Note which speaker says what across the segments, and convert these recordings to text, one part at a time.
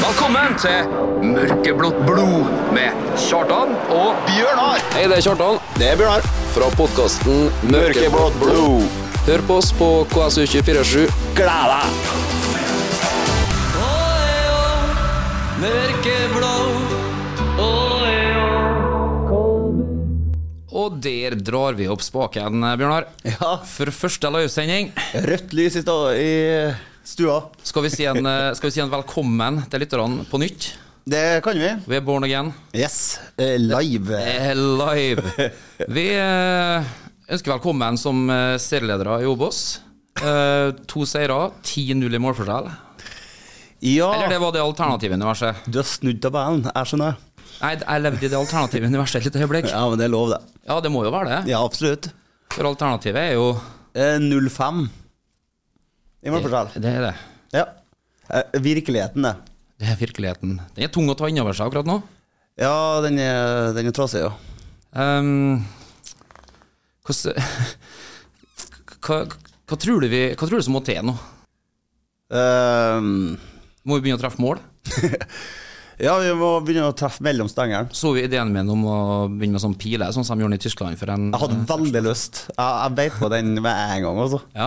Speaker 1: Velkommen til Mørkeblått blod med Kjartan og
Speaker 2: Bjørnar
Speaker 3: Hei, det er Kjartan
Speaker 2: Det er Bjørnar
Speaker 3: fra podkasten
Speaker 2: Mørkeblått blod
Speaker 3: Hør på oss på KSU247.
Speaker 2: Gled deg
Speaker 1: E Og der drar vi opp spaken, Bjørnar.
Speaker 2: Ja.
Speaker 1: For første livesending
Speaker 2: Rødt lys i, sta i stua
Speaker 1: skal vi si en, eh, skal vi si en velkommen til lytterne på nytt.
Speaker 2: Det kan vi
Speaker 1: Vi er born again.
Speaker 2: Yes eh, Live
Speaker 1: Eh, Live. Vi eh, ønsker velkommen som eh, serieledere i Obos. Eh, to seire, 10-0 i målforskjell. Eller
Speaker 2: Ja
Speaker 1: det var det alternative universet.
Speaker 2: Du har snudd til ballen Jeg skjønner
Speaker 1: Nei, jeg levde i det alternative universet et lite øyeblikk.
Speaker 2: Ja, men det er lov det
Speaker 1: Ja, det må jo være det.
Speaker 2: Ja, absolutt
Speaker 1: For alternativet er jo
Speaker 2: eh, 0-5 I må fortelle
Speaker 1: Det er det.
Speaker 2: Ja eh, Virkeligheten det
Speaker 1: Det er virkeligheten. Den er tung å ta inn over seg akkurat nå.
Speaker 2: Ja, den er, den er trasig ja
Speaker 1: Ehm, hvordan hva, hva tror du vi Hva tror du som må til nå?
Speaker 2: Ehm,
Speaker 1: Må vi begynne å treffe mål?
Speaker 2: Ja, vi må begynne å treffe mellom stengeren
Speaker 1: Så vi ideen min om å begynne med sånn pile, sånn som de gjorde i Tyskland for en
Speaker 2: Jeg hadde veldig lyst. Jeg, jeg beit på den med en gang, altså.
Speaker 1: ja.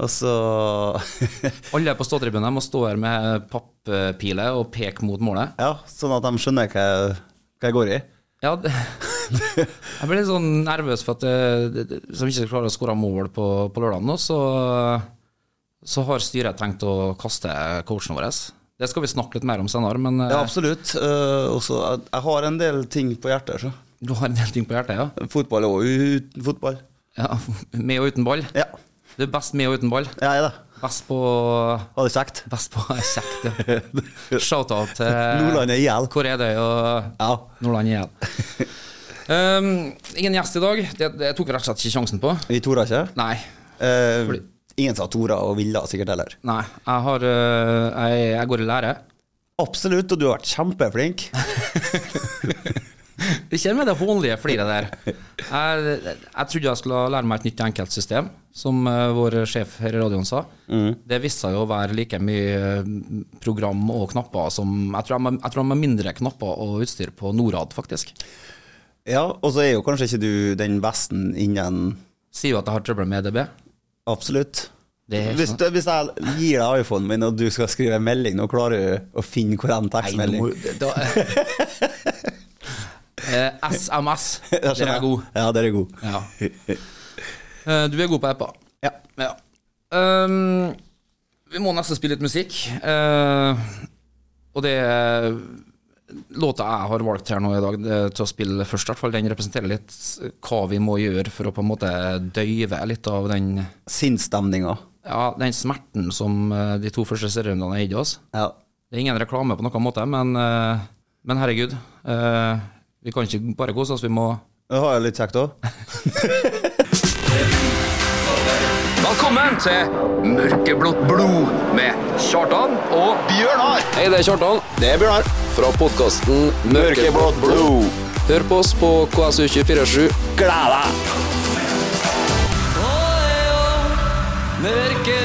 Speaker 2: Og så
Speaker 1: Alle på ståtribunen må stå her med papppile og peke mot målet.
Speaker 2: Ja, sånn at de skjønner hva, jeg- hva jeg går i.
Speaker 1: Ja, det, jeg ble litt sånn nervøs for at eh, det- det- hvis vi ikke klarer å skåre mål på, på lørdag nå, så, så har styret tenkt å kaste coachen vår. Det skal vi snakke litt mer om senere, men eh,
Speaker 2: Ja, absolutt. Eh, og så jeg, jeg har en del ting på hjertet. Så.
Speaker 1: du har en del ting på hjertet, ja.
Speaker 2: Fotball og uten fotball.
Speaker 1: ja. Med og uten ball.
Speaker 2: Ja,
Speaker 1: Du er best med og uten ball.
Speaker 2: jeg er det.
Speaker 1: Best på
Speaker 2: Ha det kjekt.
Speaker 1: Best på kjekt, ja. Shout-out til
Speaker 2: Nordland er i hjel.
Speaker 1: Hvor er det? Og
Speaker 2: Eh. Ja.
Speaker 1: Nordland igjen. Um, ingen gjest i dag. Det, det tok vi rett og slett ikke sjansen på.
Speaker 2: Vi tora ikke.
Speaker 1: Nei.
Speaker 2: Eh, ingen sa Tora og Villa sikkert heller.
Speaker 1: Nei, jeg, har, øh, jeg, jeg går i lære.
Speaker 2: Absolutt, og du har vært kjempeflink.
Speaker 1: Ikke med det hånlige fliret der. Jeg, jeg trodde jeg skulle lære meg et nytt enkeltsystem, som øh, vår sjef her i radioen sa. Det viste seg jo å være like mye øh, program og knapper som Jeg tror de jeg tror de har mindre knapper og utstyr på Norad, faktisk.
Speaker 2: Ja, og så er jo kanskje ikke du den besten innen
Speaker 1: Sier jo at jeg har trøbbel med EDB.
Speaker 2: Absolutt.
Speaker 1: Det er
Speaker 2: Hvis,
Speaker 1: sånn.
Speaker 2: hvis jeg gir deg iPhonen min, og du skal skrive en melding, nå klarer du å finne hvor
Speaker 1: Nei,
Speaker 2: den
Speaker 1: nå
Speaker 2: tekstmeldingen
Speaker 1: må- da, Eh, SMS.
Speaker 2: Jeg
Speaker 1: Der er
Speaker 2: skjønner.
Speaker 1: jeg god.
Speaker 2: Ja, der er god.
Speaker 1: Ja. Eh, Du er god på apper.
Speaker 2: Ja.
Speaker 1: Ja. Ehm, vi må nesten spille litt musikk. Eh, og det er Låta jeg har valgt her nå i dag det, til å spille først, i hvert fall, den representerer litt s- hva vi må gjøre for å på en måte døyve litt av den,
Speaker 2: Sinnsstemninga.
Speaker 1: ja, den smerten som eh, de to første serierundene har gitt oss.
Speaker 2: Ja.
Speaker 1: Det er ingen reklame på noen måte, men, eh, men herregud. eh, vi kan ikke bare kose oss, vi må
Speaker 2: Det har jeg litt kjekt òg.
Speaker 1: Velkommen til Mørkeblått blod med Kjartan og
Speaker 2: Bjørnar!
Speaker 3: Hei, det er Kjartan
Speaker 2: Det er Bjørnar.
Speaker 3: fra podkasten
Speaker 2: Mørkeblått blod.
Speaker 3: Hør på oss på KSU247.
Speaker 2: Gled deg!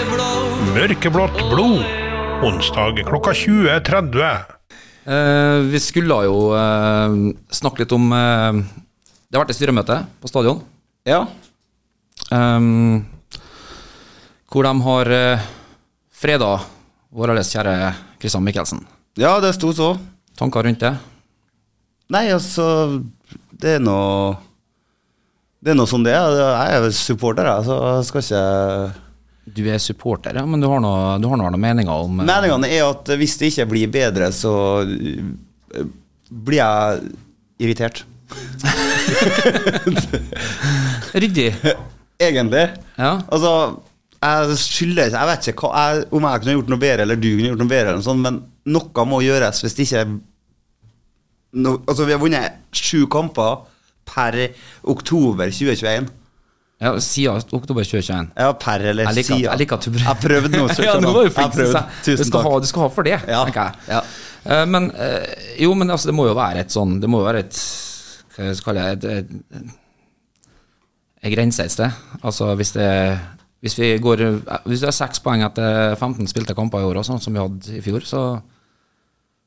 Speaker 4: Mørkeblått blod. Onsdag klokka 20.30.
Speaker 1: Eh, vi skulle jo eh, snakke litt om eh, Det har vært et styremøte på stadion.
Speaker 2: Ja.
Speaker 1: ehm, hvor de har uh, freda vår alles kjære Christian Michelsen.
Speaker 2: ja, det sto så.
Speaker 1: Tanker rundt det?
Speaker 2: Nei, altså Det er nå Det er nå sånn det er. Jeg er jo supporter, jeg, så jeg skal ikke
Speaker 1: Du er supporter, ja, men du har noe- du har noe noen meninger om eh,
Speaker 2: Meningene er at hvis det ikke blir bedre, så øh, blir jeg irritert.
Speaker 1: Ryddig.
Speaker 2: Egentlig.
Speaker 1: Ja.
Speaker 2: Altså, jeg skylder ikke Jeg vet ikke hva, jeg, om jeg kunne gjort noe bedre, eller du kunne gjort noe bedre, eller noe sånt, men noe må gjøres hvis det ikke no, Altså, vi har vunnet sju kamper per oktober 2021.
Speaker 1: ja siden oktober 2021.
Speaker 2: Ja, per eller
Speaker 1: Jeg liker, at-
Speaker 2: siden.
Speaker 1: jeg liker at du prøver.
Speaker 2: Jeg prøvde nå. så
Speaker 1: ja, nå var du
Speaker 2: jeg
Speaker 1: flink, synes
Speaker 2: prøvde.
Speaker 1: jeg. Du
Speaker 2: Tusen
Speaker 1: skal,
Speaker 2: takk.
Speaker 1: ha, du skal ha for det,
Speaker 2: Ja,
Speaker 1: tenker jeg.
Speaker 2: ja.
Speaker 1: Eh, men eh, jo, men altså, det må jo være et sånn Det må jo være et Hva skal jeg kalle det? et- et- En grense et sted. Altså hvis det Hvis vi går Hvis det er seks poeng etter 15 spilte kamper i år, og sånn som vi hadde i fjor, så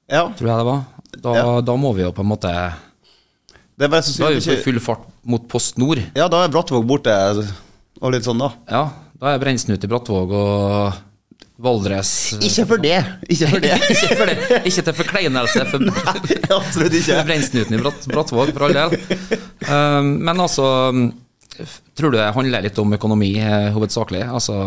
Speaker 2: Ja,
Speaker 1: tror jeg det var. Da,
Speaker 2: Ja.
Speaker 1: da må vi jo på en måte
Speaker 2: det er bare så
Speaker 1: Da er vi
Speaker 2: synd
Speaker 1: på
Speaker 2: ikke-
Speaker 1: full fart mot Post Nord.
Speaker 2: Ja, da er Brattvåg borte og litt sånn, da.
Speaker 1: Ja, da er Brennsnut i Brattvåg og Valdres
Speaker 2: Ikke for det! Ikke for det.
Speaker 1: Ikke, for det, ikke til forkleinelse for,
Speaker 2: Absolutt ikke.
Speaker 1: for Brennsnuten i Bratt, Brattvåg, for all del. Um, men altså um, f- Tror du det handler litt om økonomi eh, hovedsakelig? Altså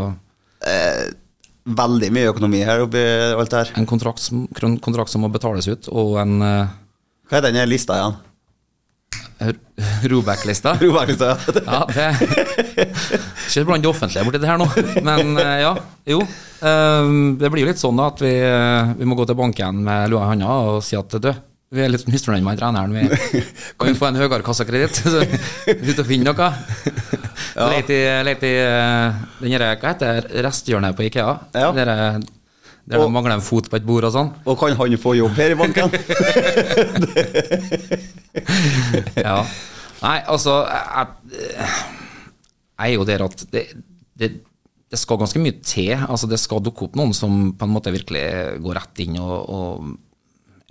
Speaker 2: Veldig mye økonomi her oppi alt her.
Speaker 1: en kontrakt som, kron- kontrakt som må betales ut, og en eh,
Speaker 2: Hva er den her lista igjen?
Speaker 1: r- Roback-lista?
Speaker 2: Robertlista, ja.
Speaker 1: Ja, det Ikke blant det offentlige borti det her nå, men eh, ja. Jo. Ehm, Det blir jo litt sånn da at vi, eh, vi må gå til banken med lua i handa og si at du, vi er litt misfornøyd med treneren. Vi kan vi få en høyere kassakreditt, så ut og finne noe. Let i, let i eh, den derre Hva heter det resthjørnet på Ikea?
Speaker 2: Ja.
Speaker 1: Det derre- der det
Speaker 2: Og-
Speaker 1: mangler en fot på et bord og sånn.
Speaker 2: Og kan han få jobb her i banken?
Speaker 1: ja. Nei, altså jeg, jeg er jo der at det, det, det skal ganske mye til. Altså, det skal dukke opp noen som på en måte virkelig går rett inn og, og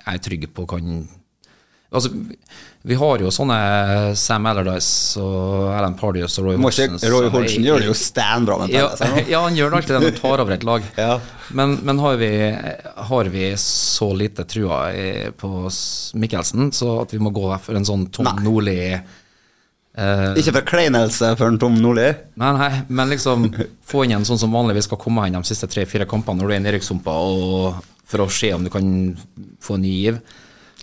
Speaker 1: er trygg på kan Altså, vi har jo sånne Sam Allardyce og Alan Pardius og Roy
Speaker 2: Må ikke,
Speaker 1: Hodgson.
Speaker 2: Roy
Speaker 1: som
Speaker 2: Holsen
Speaker 1: er-
Speaker 2: gjør det jo standbra med
Speaker 1: ja,
Speaker 2: tennis. her nå.
Speaker 1: ja, han gjør det alltid det når han tar over et lag.
Speaker 2: Ja.
Speaker 1: Men, men har, vi, har vi så lite trua i- på s- Mikkelsen så at vi må gå for en sånn Tom
Speaker 2: Nei.
Speaker 1: Nordli eh,
Speaker 2: Ikke forkleinelse for en Tom Nordli.
Speaker 1: Nei, nei, men liksom få inn en sånn som vanligvis skal komme inn de siste tre-fire kampene når du er nede i ryggsumpa, og for å se om du kan få en ny giv.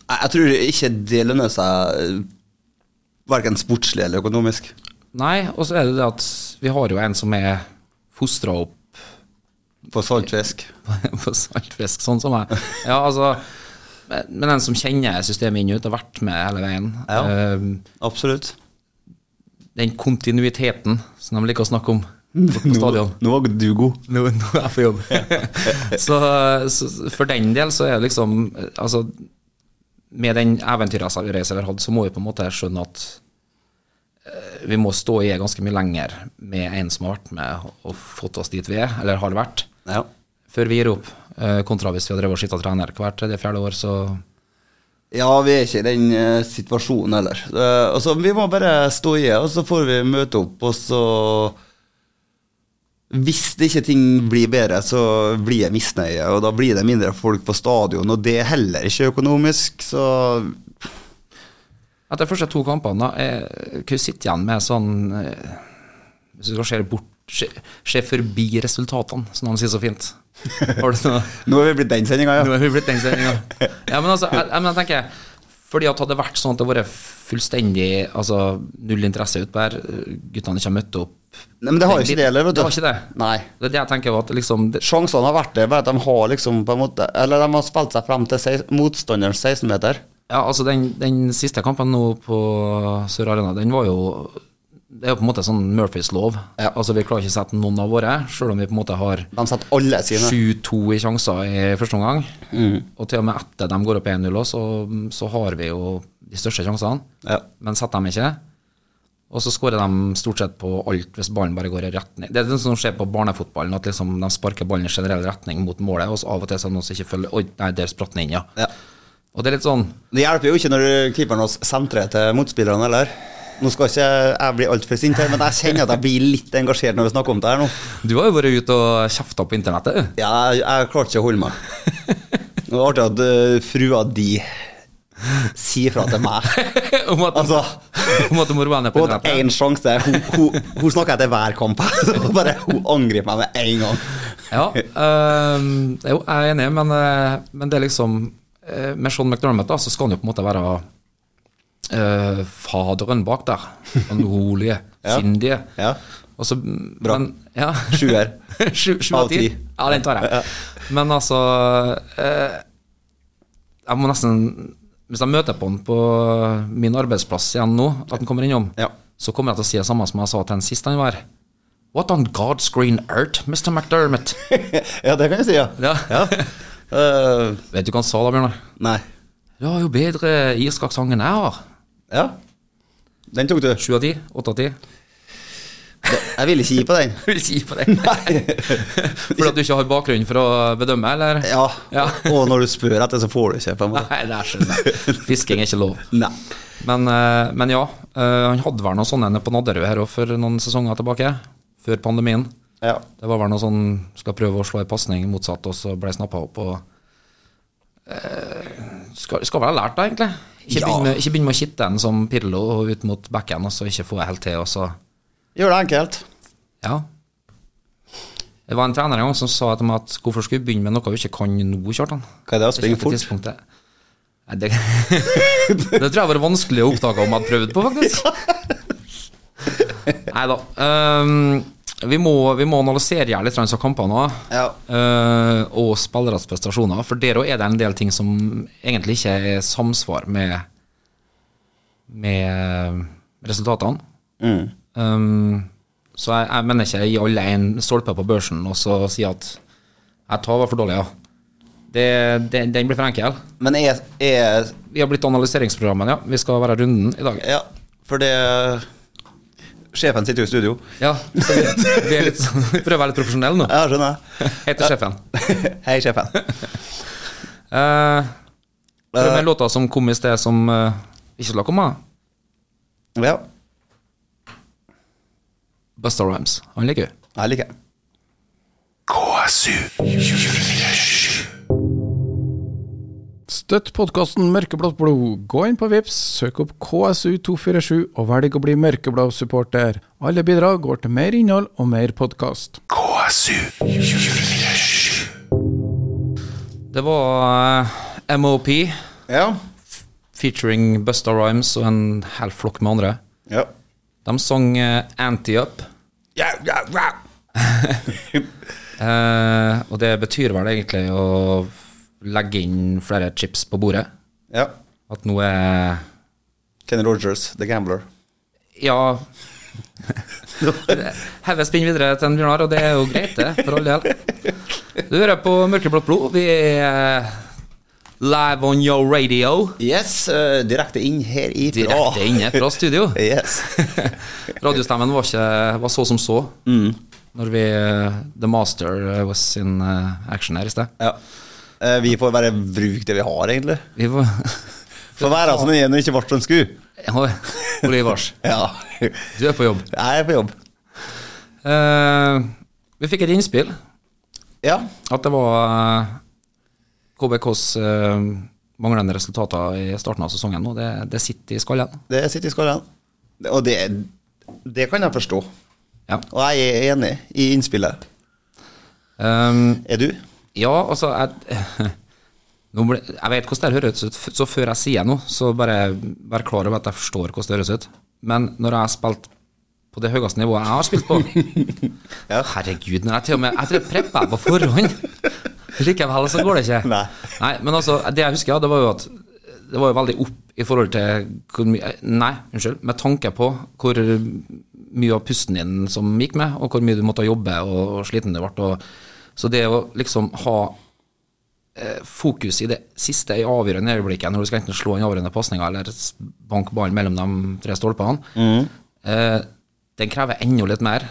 Speaker 2: Jeg jeg tror ikke det lønner seg verken sportslig eller økonomisk.
Speaker 1: Nei, og så er det det at vi har jo en som er fostra opp
Speaker 2: På saltfisk.
Speaker 1: på saltfisk, sånn som meg. Ja, altså, men- men en som kjenner systemet inn og ut, har vært med hele veien.
Speaker 2: Ja.
Speaker 1: Ehm,
Speaker 2: Absolutt.
Speaker 1: den kontinuiteten som de liker å snakke om på, på stadion.
Speaker 2: Nå var du god.
Speaker 1: Nå, nå er jeg på jobb. så, så for den del så er det liksom Altså, med den eventyrreisen vi har hatt, så må vi på en måte skjønne at eh, vi må stå i det ganske mye lenger med en som har vært med og fått oss dit vi er, eller har vært,
Speaker 2: Ja.
Speaker 1: før vi gir opp. eh, Kontra hvis vi har drevet og skifta trener hvert tredje-fjerde år, så
Speaker 2: ja, vi er ikke i den eh, situasjonen heller. Eh, altså, vi må bare stå i det, og så får vi møte opp, og så Hvis det ikke ting blir bedre, så blir det misnøye, og da blir det mindre folk på stadion, og det er heller ikke økonomisk, så
Speaker 1: Etter de første to kampene, da, eh, hva sitter igjen med sånn eh, Hvis du skal se bort Se, se forbi resultatene, som han sier så fint. Har du noe
Speaker 2: Nå er vi blitt den sendinga,
Speaker 1: Nå
Speaker 2: ja.
Speaker 1: er vi blitt den sendinga. Ja, men altså, jeg, jeg, men jeg tenker fordi at hadde det vært sånn at det hadde vært fullstendig altså, null interesse utpå her, guttene ikke har møtt opp
Speaker 2: Nei, men det har jo ikke det heller, vet du.
Speaker 1: Det har ikke det.
Speaker 2: Nei.
Speaker 1: Det er det jeg tenker var at liksom det,
Speaker 2: Sjansene har vært der, bare at de har liksom på en måte Eller de har spilt seg frem til sei- motstanderens 16-meter.
Speaker 1: Ja, altså den, den siste kampen nå på Sør Arena, den var jo Det er jo på en måte sånn Murphys lov.
Speaker 2: Ja.
Speaker 1: Altså Vi klarer ikke å sette noen av våre, selv om vi på en måte har
Speaker 2: De setter alle sine.
Speaker 1: 7-2 i sjanser i første omgang. Og til og med etter de går opp 1-0, også, så, så har vi jo de største sjansene.
Speaker 2: Ja.
Speaker 1: men setter dem ikke. Og så skårer de stort sett på alt hvis ballen bare går i rett ned. Det er det som skjer på barnefotballen, at liksom de sparker ballen i generell retning mot målet, og så av og til så er det noen som ikke følger Oi, nei, der spratt den inn, ja.
Speaker 2: Ja.
Speaker 1: Og det er litt sånn
Speaker 2: Det hjelper jo ikke når keeperen hans sentrer til motspillerne, heller. Nå skal ikke jeg bli altfor sint her, men jeg kjenner at jeg blir litt engasjert når vi snakker om det her nå.
Speaker 1: Du har jo vært ute og kjefta på internettet, du.
Speaker 2: Ja, jeg, jeg klarte ikke å holde meg. Det var artig at eh, frua di sier fra til meg.
Speaker 1: om at,
Speaker 2: Altså,
Speaker 1: om at du må roe ned på
Speaker 2: hun hadde
Speaker 1: internettet.
Speaker 2: én sjanse. Hun, hun, hun snakker etter hver kamp. Så bare Hun angriper meg med en gang.
Speaker 1: Ja, øhm, jo, jeg er enig, men, øh, men det er liksom øh, Med Sean McDermott da, så skal han jo på en måte være øh, faderen bak der. Den rolige,
Speaker 2: Ja.
Speaker 1: sindige.
Speaker 2: Ja.
Speaker 1: Og så,
Speaker 2: Bra.
Speaker 1: Men, ja.
Speaker 2: Sjuer.
Speaker 1: Sju sju av
Speaker 2: Av
Speaker 1: ti.
Speaker 2: ti.
Speaker 1: Ja, den tar jeg. Men altså eh, Jeg må nesten Hvis jeg møter på han på min arbeidsplass igjen nå, at han kommer innom,
Speaker 2: Ja.
Speaker 1: så kommer jeg til å si det samme som jeg sa til han sist han var her. What on God's green earth, Mr. McDermott?
Speaker 2: Ja, det kan jeg si, ja.
Speaker 1: Ja.
Speaker 2: Eh,
Speaker 1: Vet du hva han sa da, Bjørnar?
Speaker 2: nei.
Speaker 1: Du har jo bedre irsk aksent enn jeg har.
Speaker 2: Ja. Den tok du.
Speaker 1: Sju av ti? Åtte av ti?
Speaker 2: Jeg vil ikke gi på den.
Speaker 1: Vil ikke gi på den. Fordi at du ikke har bakgrunn for å bedømme, eller?
Speaker 2: Ja.
Speaker 1: Ja.
Speaker 2: Og når du spør etter, så får du ikke. på en måte
Speaker 1: Nei, det er skjønt. Fisking er ikke lov.
Speaker 2: Nei.
Speaker 1: Men, eh, men ja, eh, han hadde vel noen sånne nede på Nadderud her også for noen sesonger tilbake. Før pandemien.
Speaker 2: Ja.
Speaker 1: Det var vel noe sånn skal prøve å slå en pasning motsatt, og så ble jeg snappa opp. Og, eh, skal, skal vel ha lært det, egentlig. Ikke
Speaker 2: Ja.
Speaker 1: begynne med, ikke begynne med å kitte den som Pirlo og ut mot backen, og så ikke få det helt til. Og så,
Speaker 2: Gjør det enkelt.
Speaker 1: ja. Det var en trener en gang som sa til meg at hvorfor skulle vi begynne med noe vi ikke kan nå, Kjartan?
Speaker 2: Hva er det å
Speaker 1: Det er ikke
Speaker 2: springe
Speaker 1: på
Speaker 2: fort?
Speaker 1: tidspunktet. Nei, det, det tror jeg var vanskelig å oppdage om jeg hadde prøvd på, faktisk. Nei da. ehm, vi, må, vi må analysere her litt av kampene også,
Speaker 2: Ja.
Speaker 1: eh, og spillernes prestasjoner. For der òg er det en del ting som egentlig ikke er samsvar med, med resultatene.
Speaker 2: Mm.
Speaker 1: Um, så jeg, jeg mener ikke jeg gir alle en stolpe på børsen og så sier at jeg tar var for dårlig, ja. Det, det, den blir for enkel.
Speaker 2: Men er, er
Speaker 1: Vi har blitt analyseringsprogrammet, ja. Vi skal være runden i dag.
Speaker 2: Ja, for det Sjefen sitter jo i studio.
Speaker 1: Ja, så vi, vi er litt, sånn- vi prøver å være litt profesjonelle nå.
Speaker 2: Ja, skjønner jeg. Eh,
Speaker 1: Heter sjefen.
Speaker 2: Hei, sjefen.
Speaker 1: Uh, den låta som kom i sted, som eh, ikke skulle ha kommet,
Speaker 2: Ja,
Speaker 1: Busta Rhymes. Han liker vi.
Speaker 2: jeg liker det.
Speaker 5: Støtt podkasten Mørkeblått blod. Gå inn på Vips, søk opp KSU247 og velg å bli mørkeblå supporter. Alle bidrag går til mer innhold og mer podkast.
Speaker 1: Det var eh, MOP
Speaker 2: Ja.
Speaker 1: featuring Busta Rhymes og en hel flokk med andre.
Speaker 2: Ja.
Speaker 1: De sang eh, Anti-Up.
Speaker 2: Ja, ja, ja.
Speaker 1: Eh, og det betyr vel egentlig å legge inn flere chips på bordet.
Speaker 2: ja.
Speaker 1: At nå er
Speaker 2: Kenny Rogers, The Gambler.
Speaker 1: Ja. Heve spinn videre til en Bjørnar, og det er jo greit, det, for all del. Du hører på Mørkeblått blod. Vi er eh, live on your radio.
Speaker 2: Yes, eh, direkte inn her i
Speaker 1: Direkte inne fra studio.
Speaker 2: Yes.
Speaker 1: Radiostemmen var, ikke, var så som så når vi eh, The Master was in eh, action her i sted.
Speaker 2: Ja. Eh, Vi får bare bruke det vi har, egentlig.
Speaker 1: Vi var
Speaker 2: For være som den ene ikke ble som den skulle.
Speaker 1: Ole Ivars,
Speaker 2: Ja.
Speaker 1: du er på jobb.
Speaker 2: Jeg er på jobb.
Speaker 1: Eh, vi fikk et innspill
Speaker 2: Ja.
Speaker 1: at det var eh, KBKs eh, manglende resultater i starten av sesongen nå. Det, det sitter i skallen.
Speaker 2: Det sitter i skallen. Og det, det kan jeg forstå.
Speaker 1: Ja.
Speaker 2: Og jeg er enig i innspillet.
Speaker 1: Eh,
Speaker 2: Er du?
Speaker 1: ja, altså jeg, nå ble, jeg vet hvordan det høres ut, så før jeg sier noe, så bare vær klar over at jeg forstår hvordan det høres ut. Men når jeg har spilt på det høyeste nivået jeg har spilt på
Speaker 2: Ja.
Speaker 1: Herregud, når jeg til og med Jeg tror jeg preppa på forhånd. Likevel så går det ikke.
Speaker 2: Nei.
Speaker 1: Nei, men altså, det jeg husker, ja, det var jo at det var jo veldig opp i forhold til hvor mye Nei, unnskyld. Med tanke på hvor mye av pusten din som gikk med, og hvor mye du måtte jobbe, og, og sliten du ble. Og, så det å liksom ha eh, fokus i det siste i avgjørende øyeblikket, når du skal enten slå en avgjørende pasning eller s- banke ballen mellom de tre stolpene, eh, den krever enda litt mer.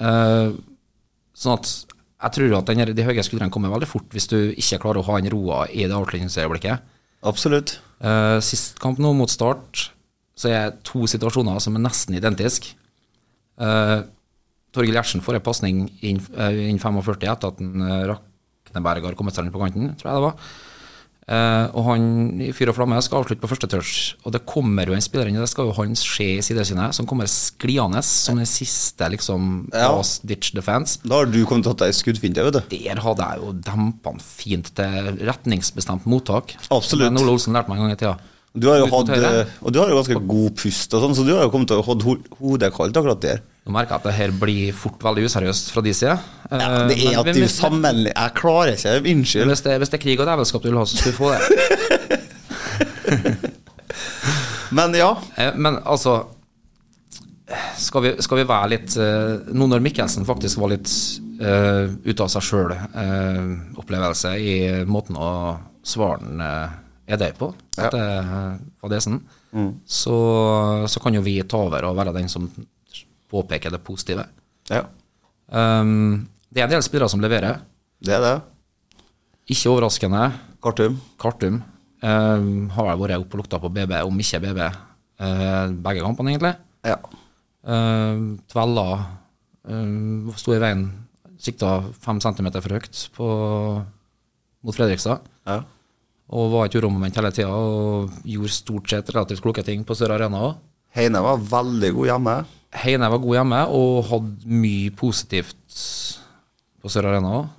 Speaker 1: Eh, Sånn at jeg tror at den her, de høye skuldrene kommer veldig fort hvis du ikke klarer å ha den roa i det avslutningsøyeblikket.
Speaker 2: Absolutt.
Speaker 1: Eh, sist kamp nå, mot Start, så er det to situasjoner som er nesten identiske. Uh, Torgill Gjertsen får en pasning inn, eh, inn 45 etter at en, eh, Rakneberg har kommet seg rundt på kanten, tror jeg det var. Eh, og han i fyr og flamme skal avslutte på første touch. Og det kommer jo en spiller inn, og det skal jo han se i sidesynet, som kommer skliende som den siste, liksom,
Speaker 2: Ja.
Speaker 1: last ditch defense.
Speaker 2: Da har du kommet til å ta ei skuddfinte, vet du.
Speaker 1: Der hadde jeg jo dempa den fint til retningsbestemt mottak.
Speaker 2: Absolutt.
Speaker 1: Men Ole Olsen lærte meg en gang i tida.
Speaker 2: Du har jo
Speaker 1: Ut mot
Speaker 2: hatt,
Speaker 1: høyre.
Speaker 2: eh, og du har jo ganske god pust, og sånn, så du har jo kommet til å ha hatt ho- hodet kaldt akkurat der.
Speaker 1: Nå merker jeg at det her blir fort veldig useriøst fra de side.
Speaker 2: Ja, det
Speaker 1: Eh,
Speaker 2: er
Speaker 1: men-
Speaker 2: at
Speaker 1: men
Speaker 2: du
Speaker 1: hvis-
Speaker 2: sammenligner Jeg klarer ikke, unnskyld.
Speaker 1: Hvis det, hvis det er krig og djevelskap du vil ha, så skal du få det.
Speaker 2: Men ja.
Speaker 1: Eh, Men altså skal vi, skal vi være litt eh, Nå når Mikkelsen faktisk var litt eh, ute av seg sjøl-opplevelse i måten å svare den eh, er deg på, at det
Speaker 2: Mm.
Speaker 1: eh, var det sånn, så, så kan jo vi ta over og være den som påpeke det positive.
Speaker 2: Ja,
Speaker 1: Um, det er en del spillere som leverer.
Speaker 2: det er det.
Speaker 1: Ikke overraskende.
Speaker 2: Kartum.
Speaker 1: Kartum um, har vel vært oppe og lukta på BB, om ikke BB, eh, begge kampene, egentlig.
Speaker 2: Ja.
Speaker 1: Uh, tvella eh, sto i veien, sikta fem centimeter for høyt på, mot Fredrikstad.
Speaker 2: ja.
Speaker 1: Og var et uromoment hele tida og gjorde stort sett relativt kloke ting på Sør Arena òg.
Speaker 2: Heine var veldig god hjemme.
Speaker 1: Heine var god hjemme og hadde mye positivt på Sør Arena òg.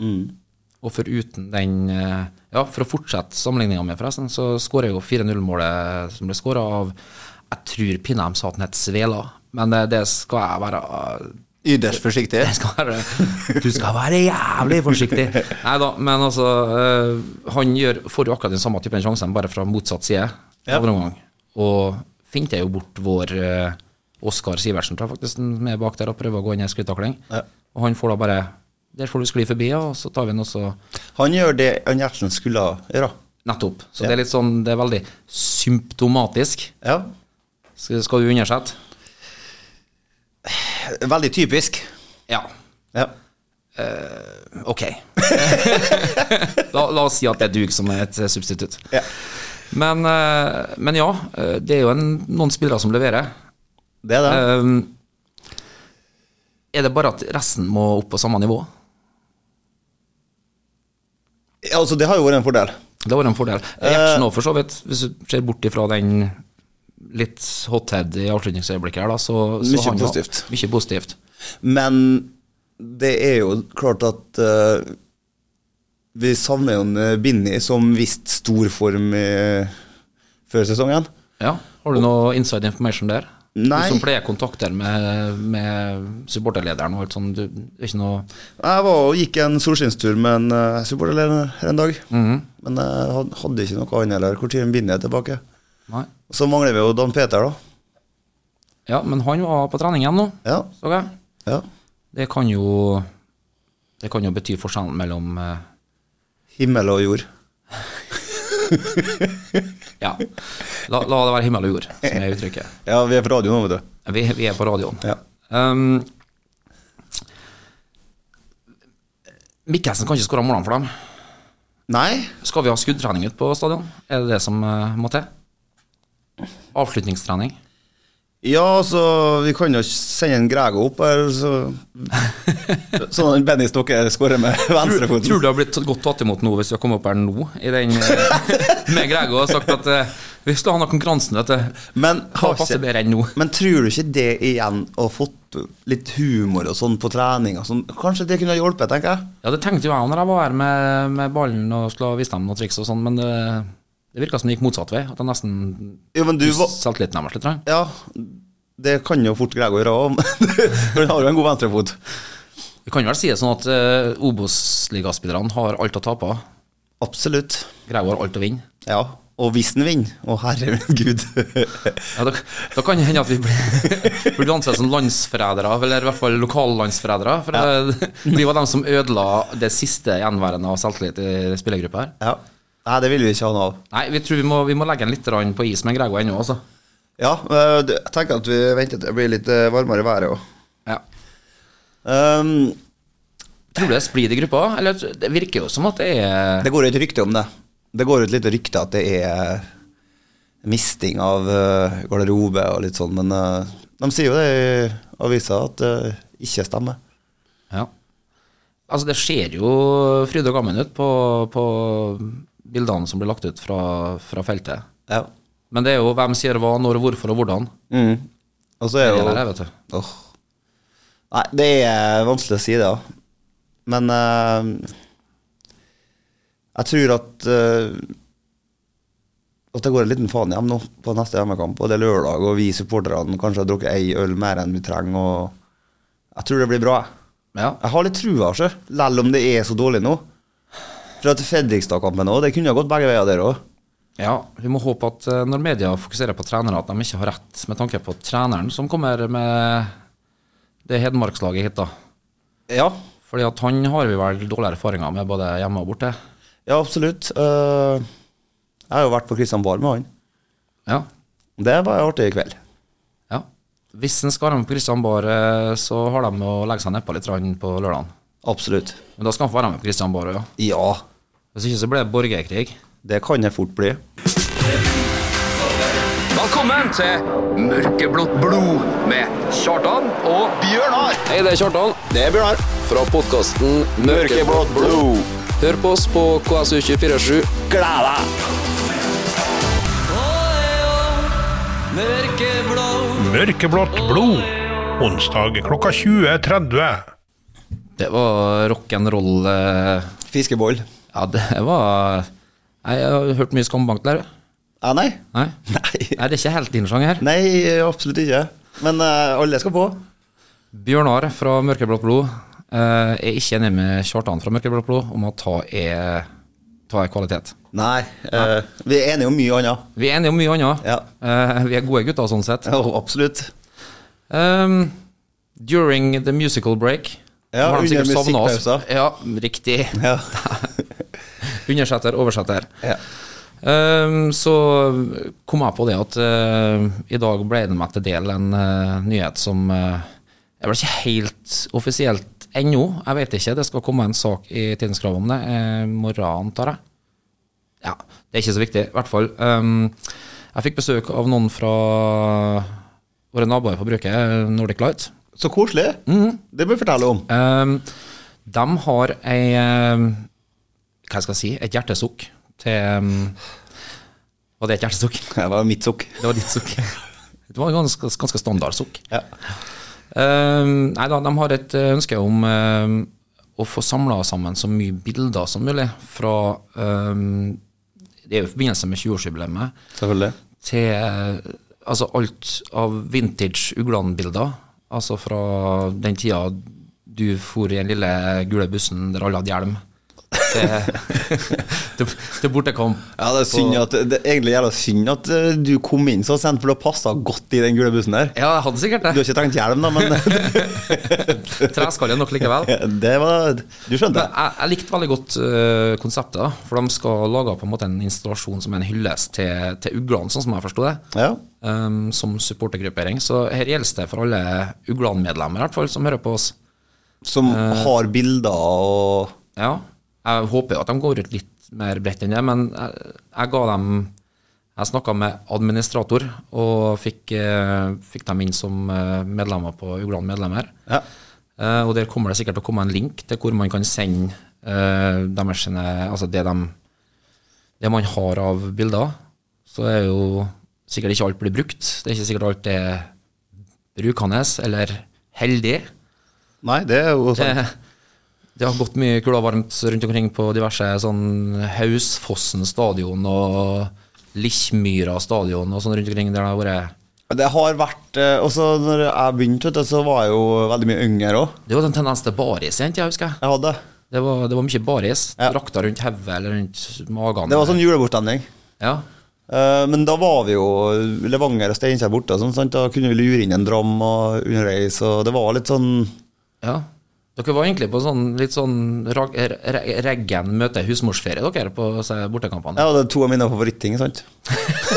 Speaker 1: Og foruten den eh, Ja, for å fortsette sammenligninga mi, forresten, så skårer jeg jo 4-0-målet som ble skåra av Jeg tror Pinheim sa at den het Svela, men det, det skal jeg være
Speaker 2: Ytterst forsiktig.
Speaker 1: jeg skal være, Du skal være jævlig forsiktig! Nei da, men altså eh, Han gjør, får jo akkurat den samme typen sjansen, bare fra motsatt side. av en omgang. Og finter jo bort vår eh, Oskar Sivertsen, tror jeg faktisk, som er bak der og prøver å gå inn i en skrittakling. Og han får da bare Der får du skli forbi, ja, og så tar vi den også
Speaker 2: Han gjør det han Gjertsen skulle ha gjøre.
Speaker 1: nettopp. Så det er litt sånn Det er veldig symptomatisk.
Speaker 2: Ja.
Speaker 1: Skal, skal du undersette?
Speaker 2: Veldig typisk.
Speaker 1: Ja.
Speaker 2: Ja.
Speaker 1: Ok. la, la oss si at det er dug som er et eh, substitutt.
Speaker 2: Ja.
Speaker 1: Men, eh, men ja, eh, det er jo en, noen spillere som leverer.
Speaker 2: Det er det.
Speaker 1: Ehm, er det bare at resten må opp på samme nivå?
Speaker 2: Ja, altså, det har jo vært en fordel.
Speaker 1: Det var en fordel.
Speaker 2: Eh,
Speaker 1: Gjertsen òg, for så vidt. Hvis du ser bort ifra den litt hothead i avslutningsøyeblikket her, da, så, så
Speaker 2: Mye
Speaker 1: han, har-
Speaker 2: positivt.
Speaker 1: Mye positivt.
Speaker 2: Men det er jo klart at eh, vi savner jo en eh, Binni som viste stor form i, før sesongen.
Speaker 1: Ja. Har du noe inside information der?
Speaker 2: Nei.
Speaker 1: Du som pleier kontakter med, med supporterlederen og alt sånt. Du, det er ikke noe
Speaker 2: Jeg var og gikk en solskinnstur med en uh, supporterleder her en dag, men jeg had- hadde ikke noe annet heller. Når Binni er tilbake?
Speaker 1: Nei.
Speaker 2: Og Så mangler vi jo Dan Peter, da.
Speaker 1: Ja, men han var på trening igjen nå,
Speaker 2: Ja,
Speaker 1: så jeg.
Speaker 2: ja.
Speaker 1: Det kan jo Det kan jo bety forskjellen mellom eh,
Speaker 2: Himmel og jord.
Speaker 1: Ja. La, la det være himmel og jord, som er uttrykket.
Speaker 2: Ja, vi er på radio nå, vet du.
Speaker 1: Vi, vi er på radioen.
Speaker 2: Ja.
Speaker 1: Um, Mikkelsen kan ikke skåre målene for dem.
Speaker 2: Nei,
Speaker 1: Skal vi ha skuddtrening ut på stadion? Er det det som eh, må til? Avslutningstrening.
Speaker 2: Ja, altså, vi kan jo sende en Grego opp her, så Sånn at Benny Stokke skårer med
Speaker 1: Tror, tror
Speaker 2: venstrefoten.
Speaker 1: du har blitt godt tatt imot nå hvis du har kommet opp her nå i den, eh, med Grego og sagt at eh, vi skal ha noen konkurransen, vet du.
Speaker 2: Men,
Speaker 1: Hva passer bedre enn nå?
Speaker 2: men tror du ikke det igjen, å fått litt humor og sånn på trening og sånn, kanskje det kunne ha hjulpet, tenker jeg?
Speaker 1: Ja, det tenkte jo jeg når jeg var her med, med ballen og skulle vise dem noen triks og sånn, men det, det virka som det gikk motsatt vei. At jeg nesten
Speaker 2: Jo, men du var
Speaker 1: selvtilliten deres litt. tror jeg.
Speaker 2: Ja, det kan jo fort Grego gjøre òg, for han har jo en god venstrefot.
Speaker 1: Vi kan vel si det sånn at uh, Obos-ligaspillerne har alt å tape.
Speaker 2: Absolutt.
Speaker 1: Greve har alt å vinne.
Speaker 2: Ja. Og hvis han vinner, å herre min gud
Speaker 1: Ja, da, da kan det hende at vi blir, blir ansett som landsforrædere, eller i hvert fall lokallandsforrædere. For eh, vi var dem som ødela det siste gjenværende av selvtillit i spillergruppa her.
Speaker 2: Ja. Nei, det vil vi ikke ha noe av.
Speaker 1: Nei, vi tror vi må, vi må legge den litt grann på is med Grego ennå, altså.
Speaker 2: Ja, øh, det- jeg tenker at vi venter til det blir litt øh, varmere i været òg.
Speaker 1: Ja.
Speaker 2: Um,
Speaker 1: Tror du det er splid i gruppa? Eller det virker jo som at det er
Speaker 2: det går ut rykte om det. Det går ut litt rykte at det er misting av øh, garderobe og litt sånn, men øh, de sier jo det i avisa at det ikke stemmer.
Speaker 1: Ja. Altså, det ser jo fryd og gammen ut på, på bildene som blir lagt ut fra, fra feltet.
Speaker 2: Ja.
Speaker 1: Men det er jo hvem sier hva, når, hvorfor og hvordan.
Speaker 2: Mm. Og så er
Speaker 1: Det
Speaker 2: jo
Speaker 1: der, er, vet du.
Speaker 2: Åh. Nei, det er eh, vanskelig å si det, da. Men eh, jeg tror at eh, At det går en liten faen hjem nå på neste hjemmekamp, og det er lørdag, og vi supporterne kanskje har drukket ei øl mer enn vi trenger, og Jeg tror det blir bra.
Speaker 1: Ja.
Speaker 2: Jeg har litt trua, sjø, selv om det er så dårlig nå. For at Fredrikstad-kampen òg, det kunne ha gått begge veier der òg.
Speaker 1: ja. Vi må håpe at eh, når media fokuserer på trenere, at de ikke har rett med tanke på treneren som kommer med det Hedmarkslaget hit, da.
Speaker 2: Ja,
Speaker 1: Fordi at han har vi vel dårlige erfaringer med både hjemme og borte.
Speaker 2: ja, absolutt. Eh, jeg har jo vært på Kristian Bar med han.
Speaker 1: Ja.
Speaker 2: Det var artig i kveld.
Speaker 1: ja. Hvis en skal være med på Kristian Bar, eh, så har de å legge seg nedpå litt grann på lørdagen.
Speaker 2: Absolutt.
Speaker 1: Men da skal han få være med på Kristian Bar òg, ja.
Speaker 2: Ja,
Speaker 1: Hvis ikke så blir det borgerkrig.
Speaker 2: det kan det fort bli.
Speaker 1: Velkommen til Mørkeblått blod med Kjartan og
Speaker 3: Hei, det er Kjartan. Det er Bjørnar. Fra podkasten Mørkeblått blod. Hør på oss på KSU247.
Speaker 4: Mørkeblått blod. Onsdag klokka 20.30.
Speaker 1: Det var rock'n'roll eh,
Speaker 2: Fiskeboll.
Speaker 1: Ja, det var Nei, Jeg har hørt mye skambank der.
Speaker 2: Ja, nei.
Speaker 1: Nei?
Speaker 2: Nei.
Speaker 1: Nei, det er ikke helt din sjanger.
Speaker 2: Nei, absolutt ikke. Men eh, alle skal på.
Speaker 1: Bjørnar fra Mørkeblått blod eh, er ikke enig med Kjartan fra Mørkeblått blod om at ta er, ta er kvalitet.
Speaker 2: Nei, eh, vi er enige om mye annet.
Speaker 1: Vi er enige om mye annet.
Speaker 2: Ja.
Speaker 1: Eh, vi er gode gutter, sånn sett.
Speaker 2: Ja, absolutt.
Speaker 1: Um, during the musical break
Speaker 2: Ja,
Speaker 1: har de
Speaker 2: under
Speaker 1: sikkert savnet oss.
Speaker 2: musikkpausa.
Speaker 1: Ja, riktig.
Speaker 2: Ja.
Speaker 1: Undersetter, oversetter.
Speaker 2: ja.
Speaker 1: Um, så kom jeg på det at eh, i dag ble det meg til del en eh, nyhet som eh, Jeg ble ikke helt offisielt ennå, jeg vet ikke. Det skal komme en sak i Tidens Krav om det. eh, I morgen, antar jeg. Ja, det er ikke så viktig. I hvert fall. Um, jeg fikk besøk av noen fra våre naboer på bruket, Nordic Light.
Speaker 2: Så koselig. Det må vi fortelle om.
Speaker 1: Um, de har ei um, Hva skal jeg si? Et hjertesukk til um, Var det et hjertesukk?
Speaker 2: Det var mitt sukk.
Speaker 1: Det var ditt sukk. Det var en ganske, ganske standard sukk.
Speaker 2: Ja.
Speaker 1: Um, nei da, de har et eh, ønske om um, å få samla sammen så mye bilder som mulig fra um, Det er jo i forbindelse med 20-årsjubileet
Speaker 2: Selvfølgelig.
Speaker 1: til eh, altså alt av vintage Ugland-bilder. Altså fra den tida du for i den lille gule bussen der alle hadde hjelm. Til, til, til bortekamp.
Speaker 2: Ja, det er synd at Det er egentlig jævla synd at eh, du kom inn så sent, for du har passa godt i den gule bussen der.
Speaker 1: Ja, jeg hadde sikkert
Speaker 2: Du
Speaker 1: det.
Speaker 2: har ikke trengt hjelm, da, men
Speaker 1: Treskalle nok likevel.
Speaker 2: det var Du skjønte?
Speaker 1: Men jeg, jeg likte veldig godt eh, konseptet, da, for de skal lage på en måte en installasjon som er en hyllest til, til uglene, sånn som jeg forsto det,
Speaker 2: Ja.
Speaker 1: um, som supportergruppering. Så her gjelder det for alle Uglan-medlemmer, i hvert fall, som hører på oss.
Speaker 2: Som har bilder og
Speaker 1: Ja, jeg håper jo at de går ut litt mer bredt enn det, men jeg, jeg ga dem Jeg snakka med administrator, og fikk, eh, fikk dem inn som eh, medlemmer på Uglan-medlemmer.
Speaker 2: Ja.
Speaker 1: Eh, og der kommer det sikkert til å komme en link til hvor man kan sende eh, deres, sine- altså det, dem- det man har av bilder. Så er jo sikkert ikke alt blir brukt. Det er ikke sikkert alt er brukende eller heldig.
Speaker 2: Nei, det er jo sånn.
Speaker 1: Det, det har gått mye kula varmt rundt omkring på diverse sånn Hausfossen stadion og Lichmyra stadion og sånn rundt omkring der det har vært
Speaker 2: Det har vært eh, Også når jeg begynte, vet du, så var jeg jo veldig mye yngre òg.
Speaker 1: Det var en tendens til baris, egentlig, jeg husker jeg.
Speaker 2: Jeg hadde.
Speaker 1: Det var, det var mye baris.
Speaker 2: Ja.
Speaker 1: Drakta rundt hodet eller rundt magen.
Speaker 2: Det var sånn julebordstemning.
Speaker 1: Ja.
Speaker 2: Eh, Men da var vi jo Levanger og Steinkjer borte, og sånn, sant? da kunne vi lure inn en dram og underveis, og det var litt sånn
Speaker 1: ja. Dere var egentlig på sånn litt sånn rag- re- re- Reggen møter husmorsferie, dere, på disse bortekampene.
Speaker 2: Ja, det er to av mine favorittting. sant?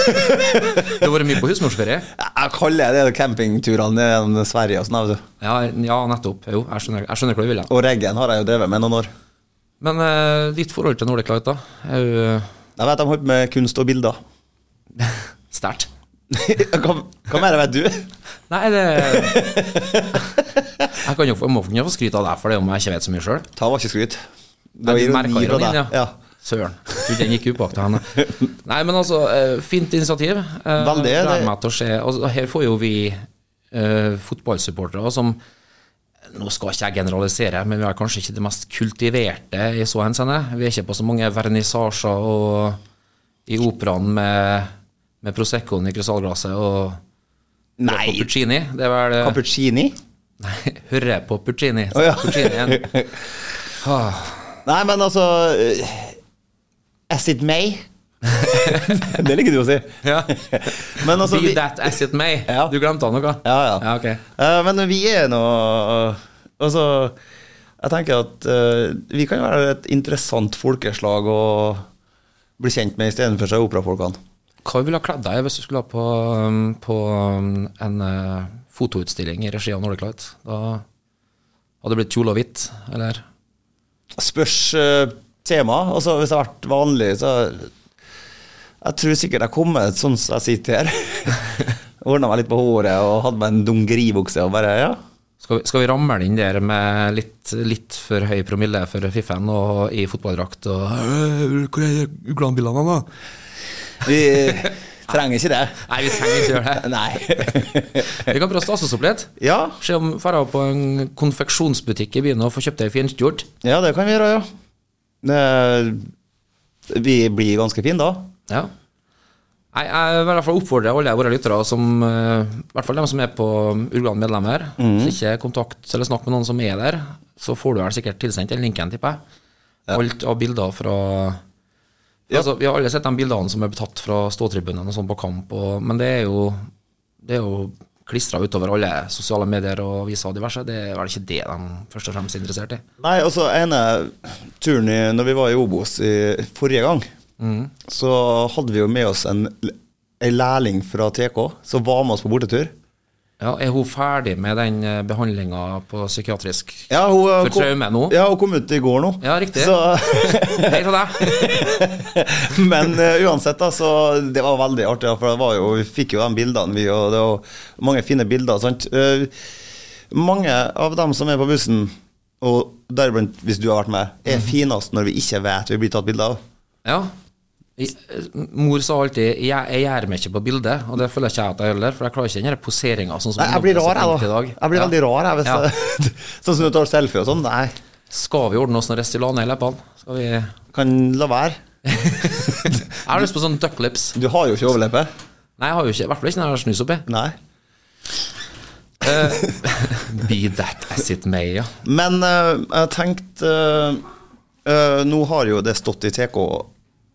Speaker 1: Det har vært mye på husmorsferie?
Speaker 2: Jeg kaller det campingturene gjennom Sverige og sånn. jeg, vet du.
Speaker 1: Ja, ja nettopp. Jo, jeg skjønner, jeg skjønner hva du vil. Ja.
Speaker 2: Og reggaen har jeg jo drevet med noen år.
Speaker 1: Men eh, ditt forhold til Nordic Light, da? Er jo eh,
Speaker 2: Jeg vet de holdt på med kunst og bilder.
Speaker 1: sterkt?
Speaker 2: hva, hva mer vet du?
Speaker 1: Nei, det Jeg kan jo få, må kunne få skryte av deg for det om jeg ikke vet så mye sjøl.
Speaker 2: Ta var ikke skryt. Det var ironi fra deg. Ja.
Speaker 1: Søren. Trodde den gikk upåaktet henne. Nei, men altså, eh, fint initiativ. Eh,
Speaker 2: Veldig, det-
Speaker 1: Gleder meg til å se. Altså, her får jo vi eh, fotballsupportere som Nå skal ikke jeg generalisere, men vi er kanskje ikke det mest kultiverte i så henseende. Vi er ikke på så mange vernissasjer og i operaen med, med Proseccoen i krystallglasset og
Speaker 2: Nei,
Speaker 1: Puccini. Det er vel eh,
Speaker 2: cappuccini?
Speaker 1: Nei, høre på Puccini.
Speaker 2: Å, ja.
Speaker 1: Puccini igjen. Ah,
Speaker 2: Nei, men altså eh, Is it May? det liker du å si.
Speaker 1: Ja.
Speaker 2: Men altså
Speaker 1: Be
Speaker 2: vi-
Speaker 1: that as it may.
Speaker 2: Ja.
Speaker 1: Du glemte han noe?
Speaker 2: Ja, ja.
Speaker 1: ja ok.
Speaker 2: Eh, men vi er nå eh, Altså, jeg tenker at eh, vi kan være et interessant folkeslag å bli kjent med istedenfor seg operafolkene.
Speaker 1: Hva ville du ha kledd deg i hvis du skulle ha på, um, på um, en eh, fotoutstilling i regi av Nordic Light? Da hadde det blitt kjole og hvitt, eller?
Speaker 2: Spørs eh, tema. Altså, hvis det hadde vært vanlig, så Jeg tror sikkert jeg kommer sånn som jeg sitter her. Ordna meg litt på håret og hadde meg en dungeribukse og bare Ja.
Speaker 1: Skal vi, skal vi ramle inn der med litt, litt for høy promille for fiffen og i fotballdrakt og Øh, Hvor er Ugland-bilene, da?
Speaker 2: Vi trenger ikke det.
Speaker 1: Nei, vi trenger ikke gjøre det.
Speaker 2: Nei.
Speaker 1: Vi kan prøve å stase oss opp litt.
Speaker 2: ja.
Speaker 1: Se om dra på en konfeksjonsbutikk i byen og få kjøpt ei finskjort.
Speaker 2: ja, det kan vi gjøre, ja. Det- vi blir ganske fine da.
Speaker 1: Ja. Nei, jeg vil i hvert fall oppfordre alle våre lyttere, som, eh, i hvert fall dem som er på Urgan medlemmer, så ikke kontakt eller snakk med noen som er der, så får du vel sikkert tilsendt den linken, tipper jeg. Alt av bilder fra altså, Vi har alle sett de bildene som er tatt fra ståtribunen og sånn på kamp, og, men det er jo, det er jo klistra utover alle sosiale medier og aviser og diverse. Det er vel ikke det de først og fremst er interessert i.
Speaker 2: Nei, altså ene turen i, når vi var i Obos i, forrige gang,
Speaker 1: Mm.
Speaker 2: så hadde vi jo med oss en, en lærling fra TK som var med oss på bortetur.
Speaker 1: Ja, Er hun ferdig med den behandlinga på psykiatrisk?
Speaker 2: Ja, hun, eh,
Speaker 1: For traume nå?
Speaker 2: Ja, hun kom ut i går nå.
Speaker 1: Ja, riktig.
Speaker 2: Så,
Speaker 1: Hei til deg!
Speaker 2: men eh, uansett, da, så det var veldig artig. da, For det var jo, vi fikk jo de bildene, vi, og det var mange fine bilder. sant? Eh, mange av dem som er på bussen, og deriblant hvis du har vært med, er finest når vi ikke vet vi blir tatt bilde av.
Speaker 1: Ja. I- eh, Mor sa alltid 'jeg, jeg gjør meg ikke på bildet', og det føler ikke jeg at jeg gjør heller, for jeg klarer ikke den poseringa. Sånn som
Speaker 2: Nei, jeg blir
Speaker 1: ungdommen er så
Speaker 2: rar,
Speaker 1: flink
Speaker 2: jeg, da.
Speaker 1: til i dag.
Speaker 2: Jeg blir
Speaker 1: Ja.
Speaker 2: veldig rar, jeg. Hvis
Speaker 1: Ja.
Speaker 2: jeg sånn som du tar selfie og sånn. Nei,
Speaker 1: Skal vi ordne oss noen Restylane i leppene? Skal vi Jeg
Speaker 2: kan la være.
Speaker 1: har lyst på sånn duck lips.
Speaker 2: Du har jo ikke overleppe.
Speaker 1: Nei, jeg har jo ikke, i hvert fall ikke når jeg har snus oppi.
Speaker 2: Nei.
Speaker 1: Eh, Be that as it may, ja.
Speaker 2: Men eh, jeg tenkte eh, eh, Nå har jo det stått i TK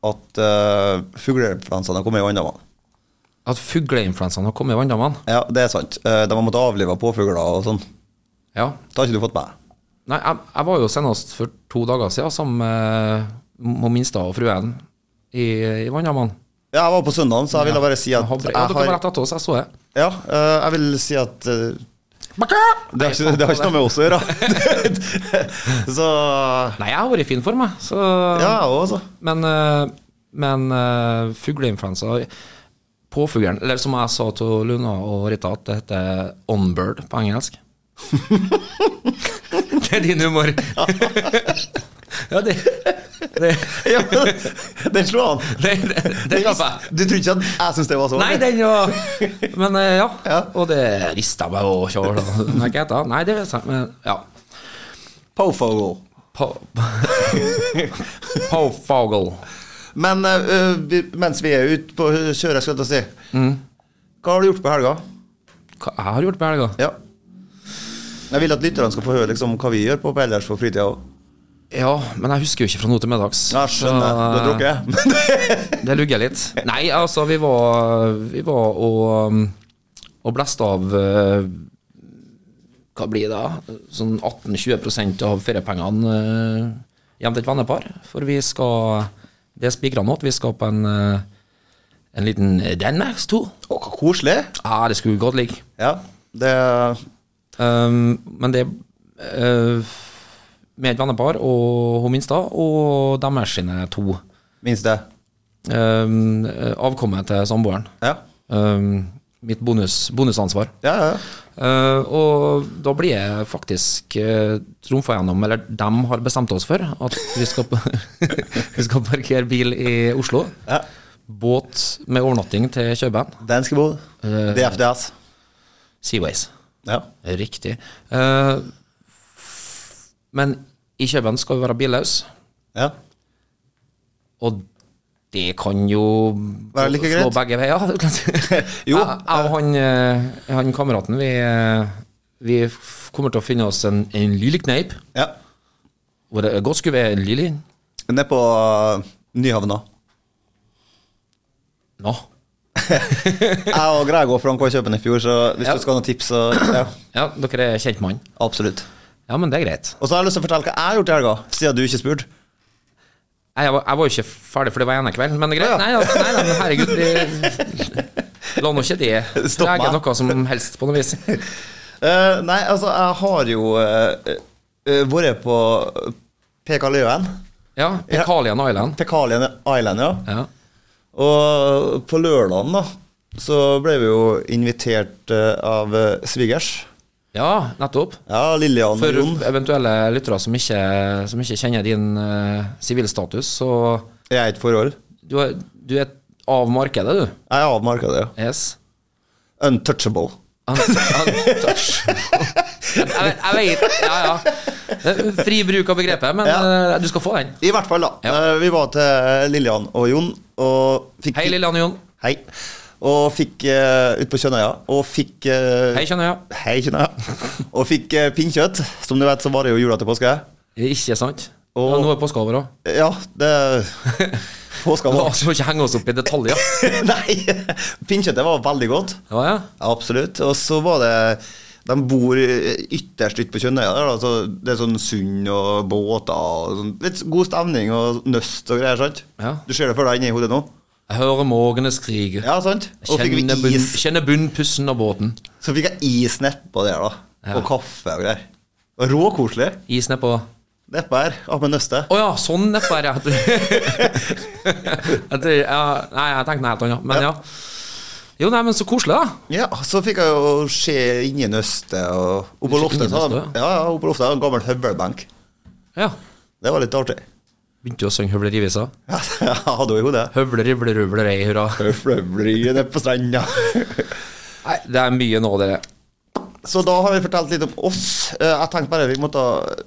Speaker 2: at uh, fugleinfluensaen har kommet i Vanndammen.
Speaker 1: At fugleinfluensaen har kommet i vanndammene.
Speaker 2: Ja, det er sant. Eh, de har måttet avlive påfugler og sånn.
Speaker 1: Ja.
Speaker 2: Det har ikke du fått med deg?
Speaker 1: Nei, jeg, jeg var jo senest for to dager siden sammen med Mo Minstad og fruen i, i vanndammene.
Speaker 2: Ja, jeg var på søndagen, så jeg ville bare si
Speaker 1: Ja,
Speaker 2: at
Speaker 1: dere
Speaker 2: jeg
Speaker 1: var
Speaker 2: har
Speaker 1: rett etter oss, jeg så det.
Speaker 2: Ja, eh, jeg vil si at eh, det har, ikke, det har ikke noe med oss å gjøre. så
Speaker 1: Nei, jeg har vært i fin form, jeg. Så
Speaker 2: Ja, jeg også. altså.
Speaker 1: Men, eh, men eh, fugleinfluensa Påfuglen, eller som jeg sa til Luna og Rita, at det heter onbird på engelsk. det er din humor. ja, det, det,
Speaker 2: Ja, men den slo an.
Speaker 1: det, det, det klapper jeg.
Speaker 2: Du tror ikke at jeg syns det var så
Speaker 1: Nei,
Speaker 2: vanlig?
Speaker 1: den var Men eh, ja.
Speaker 2: Ja.
Speaker 1: Og det rista meg og kjør, da. Nei, hva heter det? Nei, det vet jeg, men ja.
Speaker 2: Pofogle.
Speaker 1: Po- Påfugl.
Speaker 2: Men eh, vi, mens vi er ute på kjøret, skal jeg til å si
Speaker 1: Mm.
Speaker 2: Hva har du gjort på helga?
Speaker 1: Hva jeg har gjort på helga?
Speaker 2: Ja. Jeg vil at lytterne skal få høre liksom, hva vi gjør på på ellers på fritida òg.
Speaker 1: Ja, men jeg husker jo ikke fra nå til middags.
Speaker 2: Jeg skjønner. Du har
Speaker 1: Så,
Speaker 2: drukket?
Speaker 1: Det lugger litt. Nei, altså, vi var, vi var og, um, og blæste av eh, Hva blir det? da? Sånn 18-20 av feriepengene eh, hjem til et vennepar. For vi skal Det er spikra nå at vi skal på en, eh, en liten Danmarkstur.
Speaker 2: Å, hva koselig.
Speaker 1: Ja, det skulle godt ligge.
Speaker 2: Ja. Det
Speaker 1: Um, men det uh, med et vennepar og hun minste og deres sine to.
Speaker 2: minst det.
Speaker 1: Um, avkommet til samboeren.
Speaker 2: Ja.
Speaker 1: Um, mitt bonus, bonusansvar.
Speaker 2: Ja, ja. ja.
Speaker 1: Eh, og da blir jeg faktisk uh, trumfa gjennom, eller dem har bestemt oss for, at vi skal, vi skal parkere bil i Oslo.
Speaker 2: Ja.
Speaker 1: Båt med overnatting til Kjøben.
Speaker 2: Danskebo.
Speaker 1: Eh.
Speaker 2: DFDS.
Speaker 1: Seaways.
Speaker 2: Ja.
Speaker 1: Riktig. Eh, men i Kjøben skal vi være billøse,
Speaker 2: ja.
Speaker 1: og det kan jo
Speaker 2: Være like
Speaker 1: slå
Speaker 2: greit.
Speaker 1: begge veier.
Speaker 2: Jo.
Speaker 1: Jeg, jeg og han, eh, han kameraten, vi, eh, vi f- kommer til å finne oss en, en lille kneip.
Speaker 2: ja.
Speaker 1: Hvor det godt skulle være en lille
Speaker 2: Nede på eh, Nyhavna.
Speaker 1: Nå.
Speaker 2: Jeg og Greg og Frank var i Kjøpen i fjor, så hvis
Speaker 1: Ja.
Speaker 2: du skal ha noen tips, så ja,
Speaker 1: Ja, dere er kjent mann.
Speaker 2: absolutt.
Speaker 1: Ja, men det er greit.
Speaker 2: Og så har jeg lyst til å fortelle hva jeg har gjort i helga, siden du ikke spurte.
Speaker 1: Nei, jeg var, jeg var jo ikke ferdig, for det var ene kvelden, men greit. Nei, altså, nei, nei, men herregud, vi la nå ikke det
Speaker 2: Stopp meg.
Speaker 1: prege noe som helst, på noe vis.
Speaker 2: Eh, nei, altså, jeg har jo eh, eh, vært på Pekaløen.
Speaker 1: Ja, Pekalian Island.
Speaker 2: Pekalien Island, ja.
Speaker 1: Ja.
Speaker 2: Og på lørdagen, da, så ble vi jo invitert eh, av eh, svigers.
Speaker 1: ja, nettopp.
Speaker 2: Ja, Lillian og
Speaker 1: For
Speaker 2: Jon.
Speaker 1: eventuelle lyttere som ikke, som ikke kjenner din eh, sivilstatus, så
Speaker 2: Jeg er ikke forhold.
Speaker 1: du er, du er av markedet, du.
Speaker 2: Jeg er avmarka det, ja.
Speaker 1: Yes.
Speaker 2: Untouchable.
Speaker 1: Un- Untouchable. Jeg, vet- jeg vet Ja, ja. Det er Fri bruk av begrepet, men eh, du skal få den.
Speaker 2: I hvert fall, da. Eh, Vi var til Lillian og Jon og fikk
Speaker 1: Hei, Lillian og Jon.
Speaker 2: Hei. Og fikk uh, ut på Kjønnøya. Og fikk eh,
Speaker 1: Hei, Kjønnøya.
Speaker 2: Hei, Kjønnøya. og fikk uh, pinnkjøtt. Som du vet, så varer jo jula til påske.
Speaker 1: Ikke sant?
Speaker 2: Og-
Speaker 1: Ja, nå er påska over òg.
Speaker 2: Ja, det Påska
Speaker 1: La
Speaker 2: var
Speaker 1: oss nå ikke henge oss opp i detaljer.
Speaker 2: Nei! Pinnkjøttet var veldig godt.
Speaker 1: Ja, ja.
Speaker 2: Absolutt. Og så var det De bor ytterst ute på Kjønnøya. der, da, så Det er sånn sund og båter og sånn. Litt god stemning og nøst og greier, sant?
Speaker 1: Ja.
Speaker 2: Du ser det for deg inni hodet nå?
Speaker 1: Jeg hører mågenes skrik.
Speaker 2: Ja, sant? Og fikk
Speaker 1: Kjenner,
Speaker 2: vi
Speaker 1: bunn,
Speaker 2: is.
Speaker 1: kjenner bunnpussen av båten.
Speaker 2: Så fikk jeg is nedpå der, da.
Speaker 1: Ja.
Speaker 2: Og kaffe og greier. Og Råkoselig.
Speaker 1: Is nedpå Å
Speaker 2: Nedpå her. Av med nøstet.
Speaker 1: ja, sånn nedpå her, ja. Jeg tror- ja. Nei, jeg tenkte noe helt annet, men ja. Jo, nei, men så koselig, da.
Speaker 2: Ja, så fikk jeg jo se inni nøstet og opp på
Speaker 1: Du fikk
Speaker 2: loftet. så
Speaker 1: inni
Speaker 2: hadde-
Speaker 1: nøstet,
Speaker 2: Ja, ja, opp på loftet hadde jeg en gammel høvelbenk.
Speaker 1: Ja.
Speaker 2: Det var litt artig.
Speaker 1: Begynte jo å synge høvlerivisa.
Speaker 2: Ja, jeg hadde jo i hodet.
Speaker 1: Høvler, rivler, ruvler, ei, hurra.
Speaker 2: Fløvler nede på stranda.
Speaker 1: Nei, det er mye nå, dere.
Speaker 2: Så da har vi fortalt litt om oss. Eh, Jeg tenkte bare vi måtte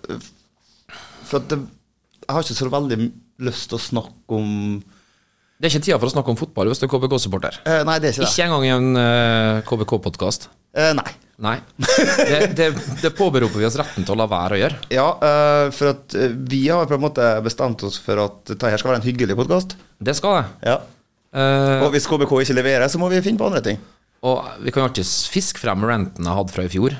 Speaker 2: eh, For at det, jeg har ikke så veldig lyst til å snakke om
Speaker 1: Det er ikke tida for å snakke om fotball hvis du er KBK-supporter.
Speaker 2: eh, Nei, det er ikke det.
Speaker 1: Ikke engang i en KBK-podkast.
Speaker 2: Eh, Nei.
Speaker 1: Nei. Det, det, det påberoper vi oss retten til å la være å gjøre.
Speaker 2: Ja, eh, for at eh, vi har på en måte bestemt oss for at dette her skal være en hyggelig podkast.
Speaker 1: Det skal jeg.
Speaker 2: Ja.
Speaker 1: Eh,
Speaker 2: Og hvis KBK ikke leverer, så må vi finne på andre ting.
Speaker 1: Og vi kan jo alltids fiske frem renten jeg hadde fra i fjor.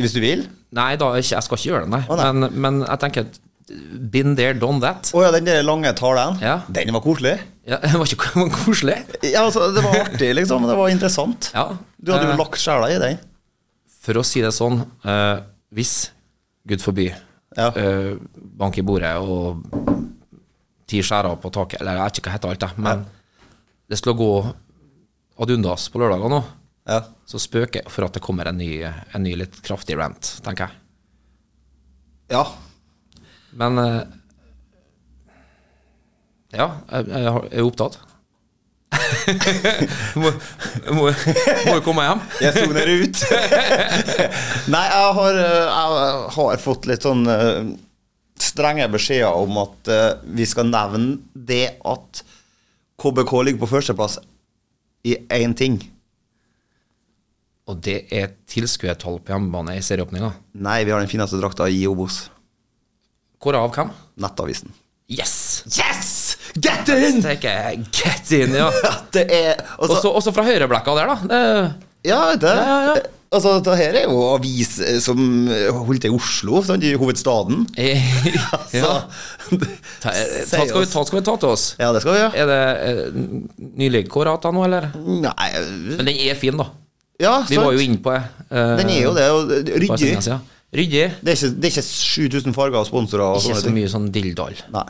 Speaker 2: Hvis du vil.
Speaker 1: Nei, da, ikke, jeg skal ikke gjøre det, nei.
Speaker 2: Å, nei.
Speaker 1: Men, men jeg tenker at Been there, done that.
Speaker 2: Å ja, den der lange talen.
Speaker 1: Ja.
Speaker 2: Den var koselig.
Speaker 1: Ja, det var ikke det var koselig.
Speaker 2: Ja, altså, Det var artig, liksom. Det var interessant.
Speaker 1: Ja.
Speaker 2: Du hadde
Speaker 1: Eh,
Speaker 2: jo lagt sjela i den.
Speaker 1: For å si det sånn, eh, hvis Gud forby
Speaker 2: Ja.
Speaker 1: eh, bank i bordet og ti skjærer på taket, eller jeg vet ikke hva heter alt det, men det skulle gå ad undas på lørdager nå,
Speaker 2: Ja.
Speaker 1: så spøker jeg for at det kommer en ny, en ny litt kraftig rant, tenker jeg.
Speaker 2: ja.
Speaker 1: Men eh, Ja, jeg, jeg har- jeg er opptatt. må, må, må jo komme hjem.
Speaker 2: Jeg soner ut. Nei, jeg har, eh, jeg har fått litt sånn eh, strenge beskjeder om at eh, vi skal nevne det at KBK ligger på førsteplass i én ting.
Speaker 1: Og det er tilskuertall på hjemmebane i serieåpninga.
Speaker 2: Nei, vi har den fineste drakta i Obos.
Speaker 1: Hvorav hvem?
Speaker 2: Nettavisen.
Speaker 1: Yes!
Speaker 2: Yes! Get in!
Speaker 1: Tenker jeg, Get in, ja.
Speaker 2: At det er altså,
Speaker 1: Også, også fra høyreblekka der, da. Det,
Speaker 2: Ja, det,
Speaker 1: Ja, ja, ja.
Speaker 2: Altså, dette her er jo avis eh, som eh, holdt til i Oslo, sant, i hovedstaden.
Speaker 1: ja.
Speaker 2: Så,
Speaker 1: Ta, ta, skal vi, ta skal vi ta til oss.
Speaker 2: Ja, det skal vi gjøre.
Speaker 1: Er det eh, nylig kårata nå, eller?
Speaker 2: Nei
Speaker 1: Men den er fin, da.
Speaker 2: Ja,
Speaker 1: Vi
Speaker 2: sant.
Speaker 1: var jo inne på det. eh,
Speaker 2: Den er jo det. Og det-
Speaker 1: bare
Speaker 2: ryddig.
Speaker 1: siden siden. Ryddig.
Speaker 2: Det er ikke, det er ikke 7000 farger og sponsorer og
Speaker 1: Ikke
Speaker 2: sånne
Speaker 1: så
Speaker 2: ting.
Speaker 1: mye sånn dilldall.
Speaker 2: Nei.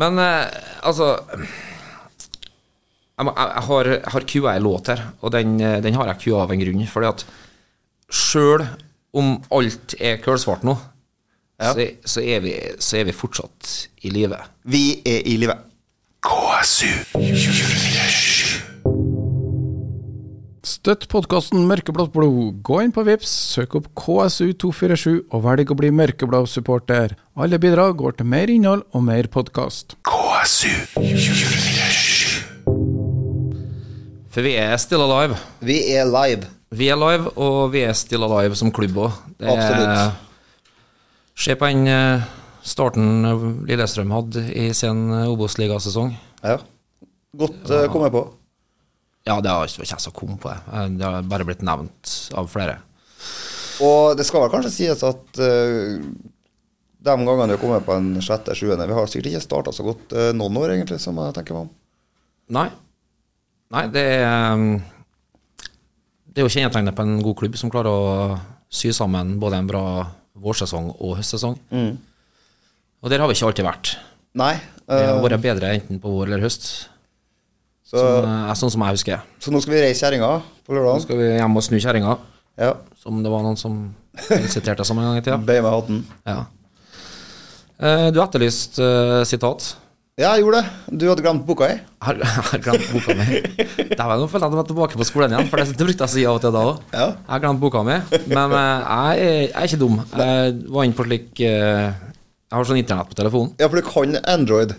Speaker 1: Men eh, altså Jeg, må- jeg, jeg har, jeg har QA en låt her, og den, eh, den har jeg QA av en grunn. Fordi at sjøl om alt er kølsvart nå,
Speaker 2: Ja.
Speaker 1: så, så, er vi, så er vi fortsatt i live.
Speaker 2: Vi er i live.
Speaker 5: Støtt podkasten Mørkeblått blod. Gå inn på Vips, søk opp KSU247 og velg å bli mørkeblå-supporter. Alle bidrag går til mer innhold og mer podkast.
Speaker 1: For vi er still alive.
Speaker 2: Vi er live.
Speaker 1: Vi er live, og vi er still alive som klubb òg.
Speaker 2: Absolutt.
Speaker 1: Se på den eh, starten Lillestrøm hadde i sin eh, Obos-ligasesong.
Speaker 2: Ja. Godt eh, kom jeg på.
Speaker 1: Ja, det har ikke vært jeg som kom på det. Eh, Det har bare blitt nevnt av flere.
Speaker 2: Og det skal vel kanskje sies at eh, de gangene vi har kommet på en sjette, sjuende Vi har sikkert ikke starta så godt eh, noen år, egentlig, som jeg tenker meg om.
Speaker 1: Nei. Nei, det er um, Det er jo kjennetegnet på en god klubb som klarer å sy sammen både en bra vårsesong og høstsesong. Og der har vi ikke alltid vært.
Speaker 2: Nei.
Speaker 1: Vi
Speaker 2: eh,
Speaker 1: har vært bedre enten på vår eller høst,
Speaker 2: så,
Speaker 1: sånn, eh, sånn som jeg husker.
Speaker 2: så nå skal vi reise kjerringa på
Speaker 1: Så
Speaker 2: lørdag.
Speaker 1: skal vi hjem og snu kjerringa,
Speaker 2: Ja.
Speaker 1: som det var noen som siterte oss om en gang i tida.
Speaker 2: Bøy meg hatten.
Speaker 1: Ja. Eh, Du etterlyste eh, sitat.
Speaker 2: Ja, jeg gjorde det. Du hadde glemt boka, jeg.
Speaker 1: Jeg har, jeg har glemt boka mi. Dæven, nå føler jeg at jeg er tilbake på skolen igjen, for det, det brukte jeg å si av og til da òg.
Speaker 2: Ja.
Speaker 1: Jeg har glemt boka mi, men eh, jeg, er- jeg er ikke dum. Jeg var inne på slik eh, Jeg har sånn internett på telefonen.
Speaker 2: Ja, for du kan Android.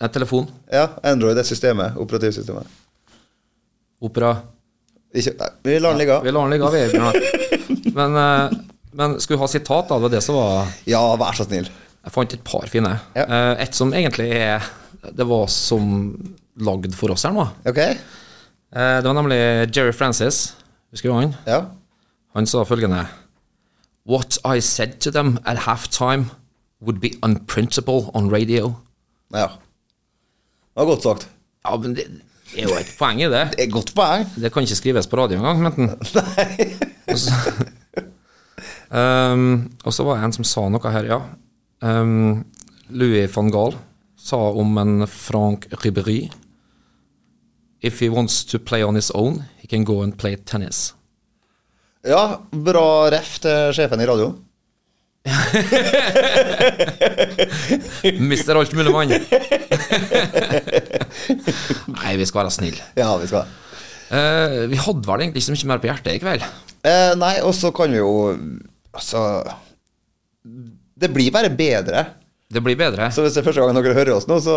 Speaker 1: Eh, telefon,
Speaker 2: Ja, Android er systemet. Operativsystemet.
Speaker 1: opera
Speaker 2: Ikke, nei, vi lar den ligge.
Speaker 1: Vi lar den ligge, vi. Bjørnar. Men, eh, men skulle ha sitat, da. Det var det som var
Speaker 2: Ja, vær så snill.
Speaker 1: Jeg fant et par fine.
Speaker 2: Ja.
Speaker 1: Eh, Et som egentlig er Det var som lagd for oss her nå.
Speaker 2: Ok?
Speaker 1: Eh, Det var nemlig Jerry Francis. Husker du han?
Speaker 2: Ja.
Speaker 1: Han sa følgende What I said to them at halftime would be unprintable on radio.
Speaker 2: Ja. Det var godt sagt.
Speaker 1: Ja, men det er jo et poeng i det.
Speaker 2: Det er godt poeng.
Speaker 1: Det kan ikke skrives på radio engang, enten. Og så- um, og så var det en som sa noe her, ja. Um, Louis van Gaal sa om en Frank Ribéry If he wants to play on his own, he can go and play tennis.
Speaker 2: Ja, bra ref til sjefen i radioen.
Speaker 1: Mister alt mulig mann. Nei, vi skal være snille.
Speaker 2: Ja, vi skal det.
Speaker 1: Eh, vi hadde vel egentlig ikke så mye mer på hjertet i kveld.
Speaker 2: Eh, nei, og så kan vi jo Altså Det blir bare bedre.
Speaker 1: Det blir bedre.
Speaker 2: Så hvis det er første gangen dere hører oss nå, så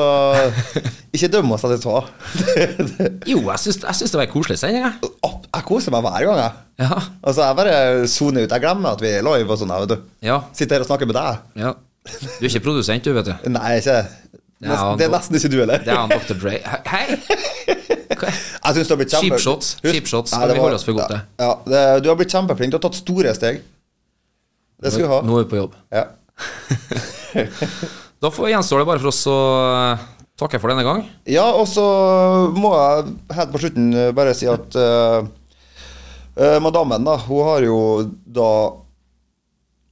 Speaker 2: ikke døm oss etter tå.
Speaker 1: Jo, jeg syns, jeg syns det var en koselig sending, jeg.
Speaker 2: Jeg koser meg hver gang, jeg.
Speaker 1: Ja.
Speaker 2: Altså, jeg bare soner ut. Jeg glemmer at vi er live og sånn. jeg, Vet du.
Speaker 1: ja.
Speaker 2: Sitter her og snakker med deg.
Speaker 1: ja. Du er ikke produsent, du, vet du.
Speaker 2: Nei, ikke
Speaker 1: Ja,
Speaker 2: Nest, Det er
Speaker 1: da-
Speaker 2: nesten ikke du heller.
Speaker 1: Det er han Dr. Dre. Hei! Hva-
Speaker 2: Jeg synes du har blitt kjempe...
Speaker 1: Cheap shots,
Speaker 2: Husk-
Speaker 1: cheap shots,
Speaker 2: Nei,
Speaker 1: men vi
Speaker 2: det var-
Speaker 1: holder oss for godt til.
Speaker 2: Ja, det, du har blitt kjempeflink. Du har tatt store steg. Det skal du ha.
Speaker 1: Nå er vi på jobb.
Speaker 2: Ja.
Speaker 1: Da får gjenstår det bare for oss å eh, takke for denne gang.
Speaker 2: ja, og så må jeg helt på slutten eh, bare si at eh, eh, madammen, da, hun har jo da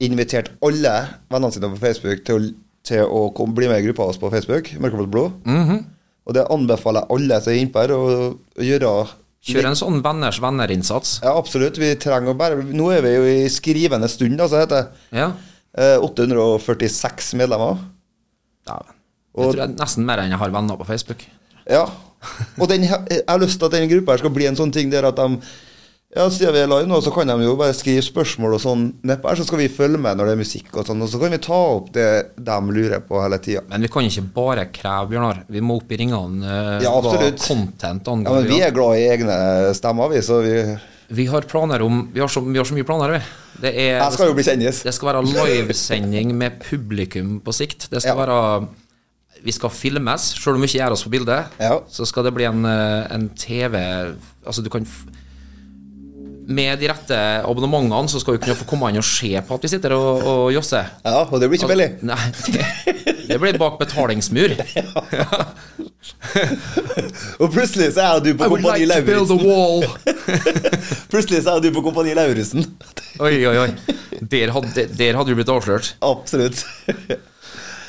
Speaker 2: invitert alle vennene sine på Facebook til å, til å kom, bli med i gruppa vår på Facebook, Mørkeblått blod.
Speaker 1: Mhm.
Speaker 2: Og det anbefaler jeg alle som er innpå her, å, å gjøre.
Speaker 1: Kjør en sånn venners venner-innsats.
Speaker 2: Ja, absolutt. Vi trenger å bare Nå er vi jo i skrivende stund, da, så heter det.
Speaker 1: Ja.
Speaker 2: Eh, 846 medlemmer.
Speaker 1: Dæven. Jeg
Speaker 2: Og-
Speaker 1: tror jeg nesten mer enn jeg har venner på Facebook.
Speaker 2: Ja. Og den, he- jeg har lyst til at den gruppa her skal bli en sånn ting der at de ja, Siden vi er live nå, så kan de jo bare skrive spørsmål og sånn nedpå her, så skal vi følge med når det er musikk og sånn, og så kan vi ta opp det de lurer på hele tida.
Speaker 1: Men vi kan ikke bare kreve, Bjørnar. Vi må opp i ringene eh,
Speaker 2: Ja,
Speaker 1: hva
Speaker 2: absolutt.
Speaker 1: content
Speaker 2: Ja, men
Speaker 1: angår.
Speaker 2: vi
Speaker 1: vi,
Speaker 2: er glad i egne stemmer, vi, så vi
Speaker 1: vi har planer om Vi har så, vi har så mye planer, vi. Det, er,
Speaker 2: Jeg skal jo bli kjendis.
Speaker 1: det skal være livesending med publikum på sikt. Det skal
Speaker 2: Ja.
Speaker 1: være Vi skal filmes, sjøl om vi ikke gjør oss på bildet.
Speaker 2: Ja.
Speaker 1: Så skal det bli en, eh, en TV Altså, du kan f Med de rette abonnementene så skal du kunne få komme inn og se på at vi sitter og, og josser.
Speaker 2: Ja, og det blir ikke billig.
Speaker 1: Nei, det, det blir bak betalingsmur.
Speaker 2: Og plutselig så er du på Kompani Lauritzen.
Speaker 1: wall.
Speaker 2: Plutselig så er du på Kompani Lauritzen.
Speaker 1: Oi, oi, oi. Der hadde, der hadde du blitt avslørt.
Speaker 2: Absolutt.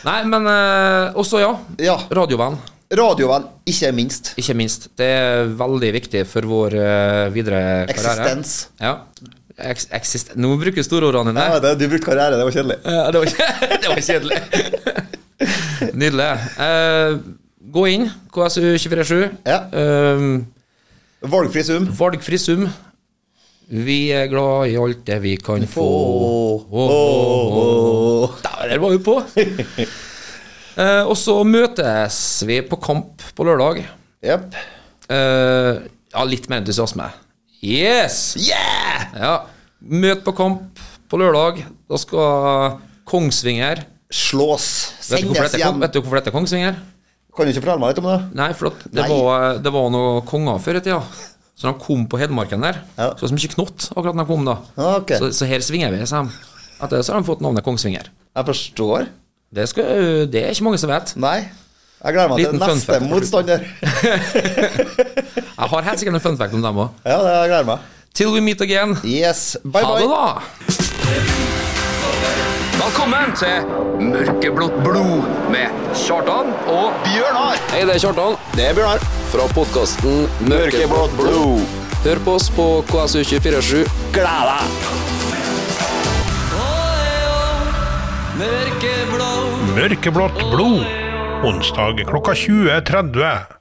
Speaker 1: Nei, men eh, også, ja.
Speaker 2: Ja.
Speaker 1: Radiovenn,
Speaker 2: Radiovenn, ikke minst.
Speaker 1: ikke minst. Det er veldig viktig for vår eh, videre karriere.
Speaker 2: Eksistens.
Speaker 1: Ja. Eks eksist Nå bruker du storordene dine.
Speaker 2: Ja, det, du brukte karriere, det var kjedelig.
Speaker 1: Eh, det, var, det var kjedelig. Nydelig. Eh, gå inn, KSU247.
Speaker 2: Ja.
Speaker 1: Eh,
Speaker 2: Valgfri sum.
Speaker 1: Valgfri sum. Vi er glad i alt det vi kan få.
Speaker 2: Få.
Speaker 1: Åh, åh, åh. Der der var vi på! Eh, og så møtes vi på kamp på lørdag.
Speaker 2: Jepp.
Speaker 1: Eh, ja, litt mer entusiasme. Yes!
Speaker 2: Yeah!
Speaker 1: Ja. Møt på kamp på lørdag. Da skal Kongsvinger
Speaker 2: Slås.
Speaker 1: Vet du hvorfor
Speaker 2: Sendes
Speaker 1: dette,
Speaker 2: hjem.
Speaker 1: vet du hvorfor dette er Kongsvinger?
Speaker 2: Kan du ikke fortelle meg litt om det?
Speaker 1: Nei, for at det,
Speaker 2: Nei.
Speaker 1: var, det var noen konger før i tida. Så de kom på Hedmarken der.
Speaker 2: Ja.
Speaker 1: Så det var så mye knott akkurat når de kom, da.
Speaker 2: Ah, ok.
Speaker 1: Så, så her svinger vi, sa de. Etter det så har de fått navnet Kongsvinger.
Speaker 2: Jeg forstår.
Speaker 1: Det, skal, det er ikke mange som vet.
Speaker 2: Nei. Jeg gleder meg
Speaker 1: Liten
Speaker 2: til
Speaker 1: fun
Speaker 2: neste
Speaker 1: fact.
Speaker 2: motstander.
Speaker 1: Jeg har helt sikkert en fun fact om dem òg.
Speaker 2: Ja, det jeg gleder meg.
Speaker 1: Till we meet again.
Speaker 2: Yes. Bye,
Speaker 1: Ha
Speaker 2: bye.
Speaker 1: det, da! Velkommen til Mørkeblått blod med Kjartan og
Speaker 6: Hei, det er Kjartan. Det er Bjørnar. Fra podkasten Mørkeblått blod. Hør på oss på KSU247.
Speaker 4: Mørkeblått blod. Onsdag klokka 20.30.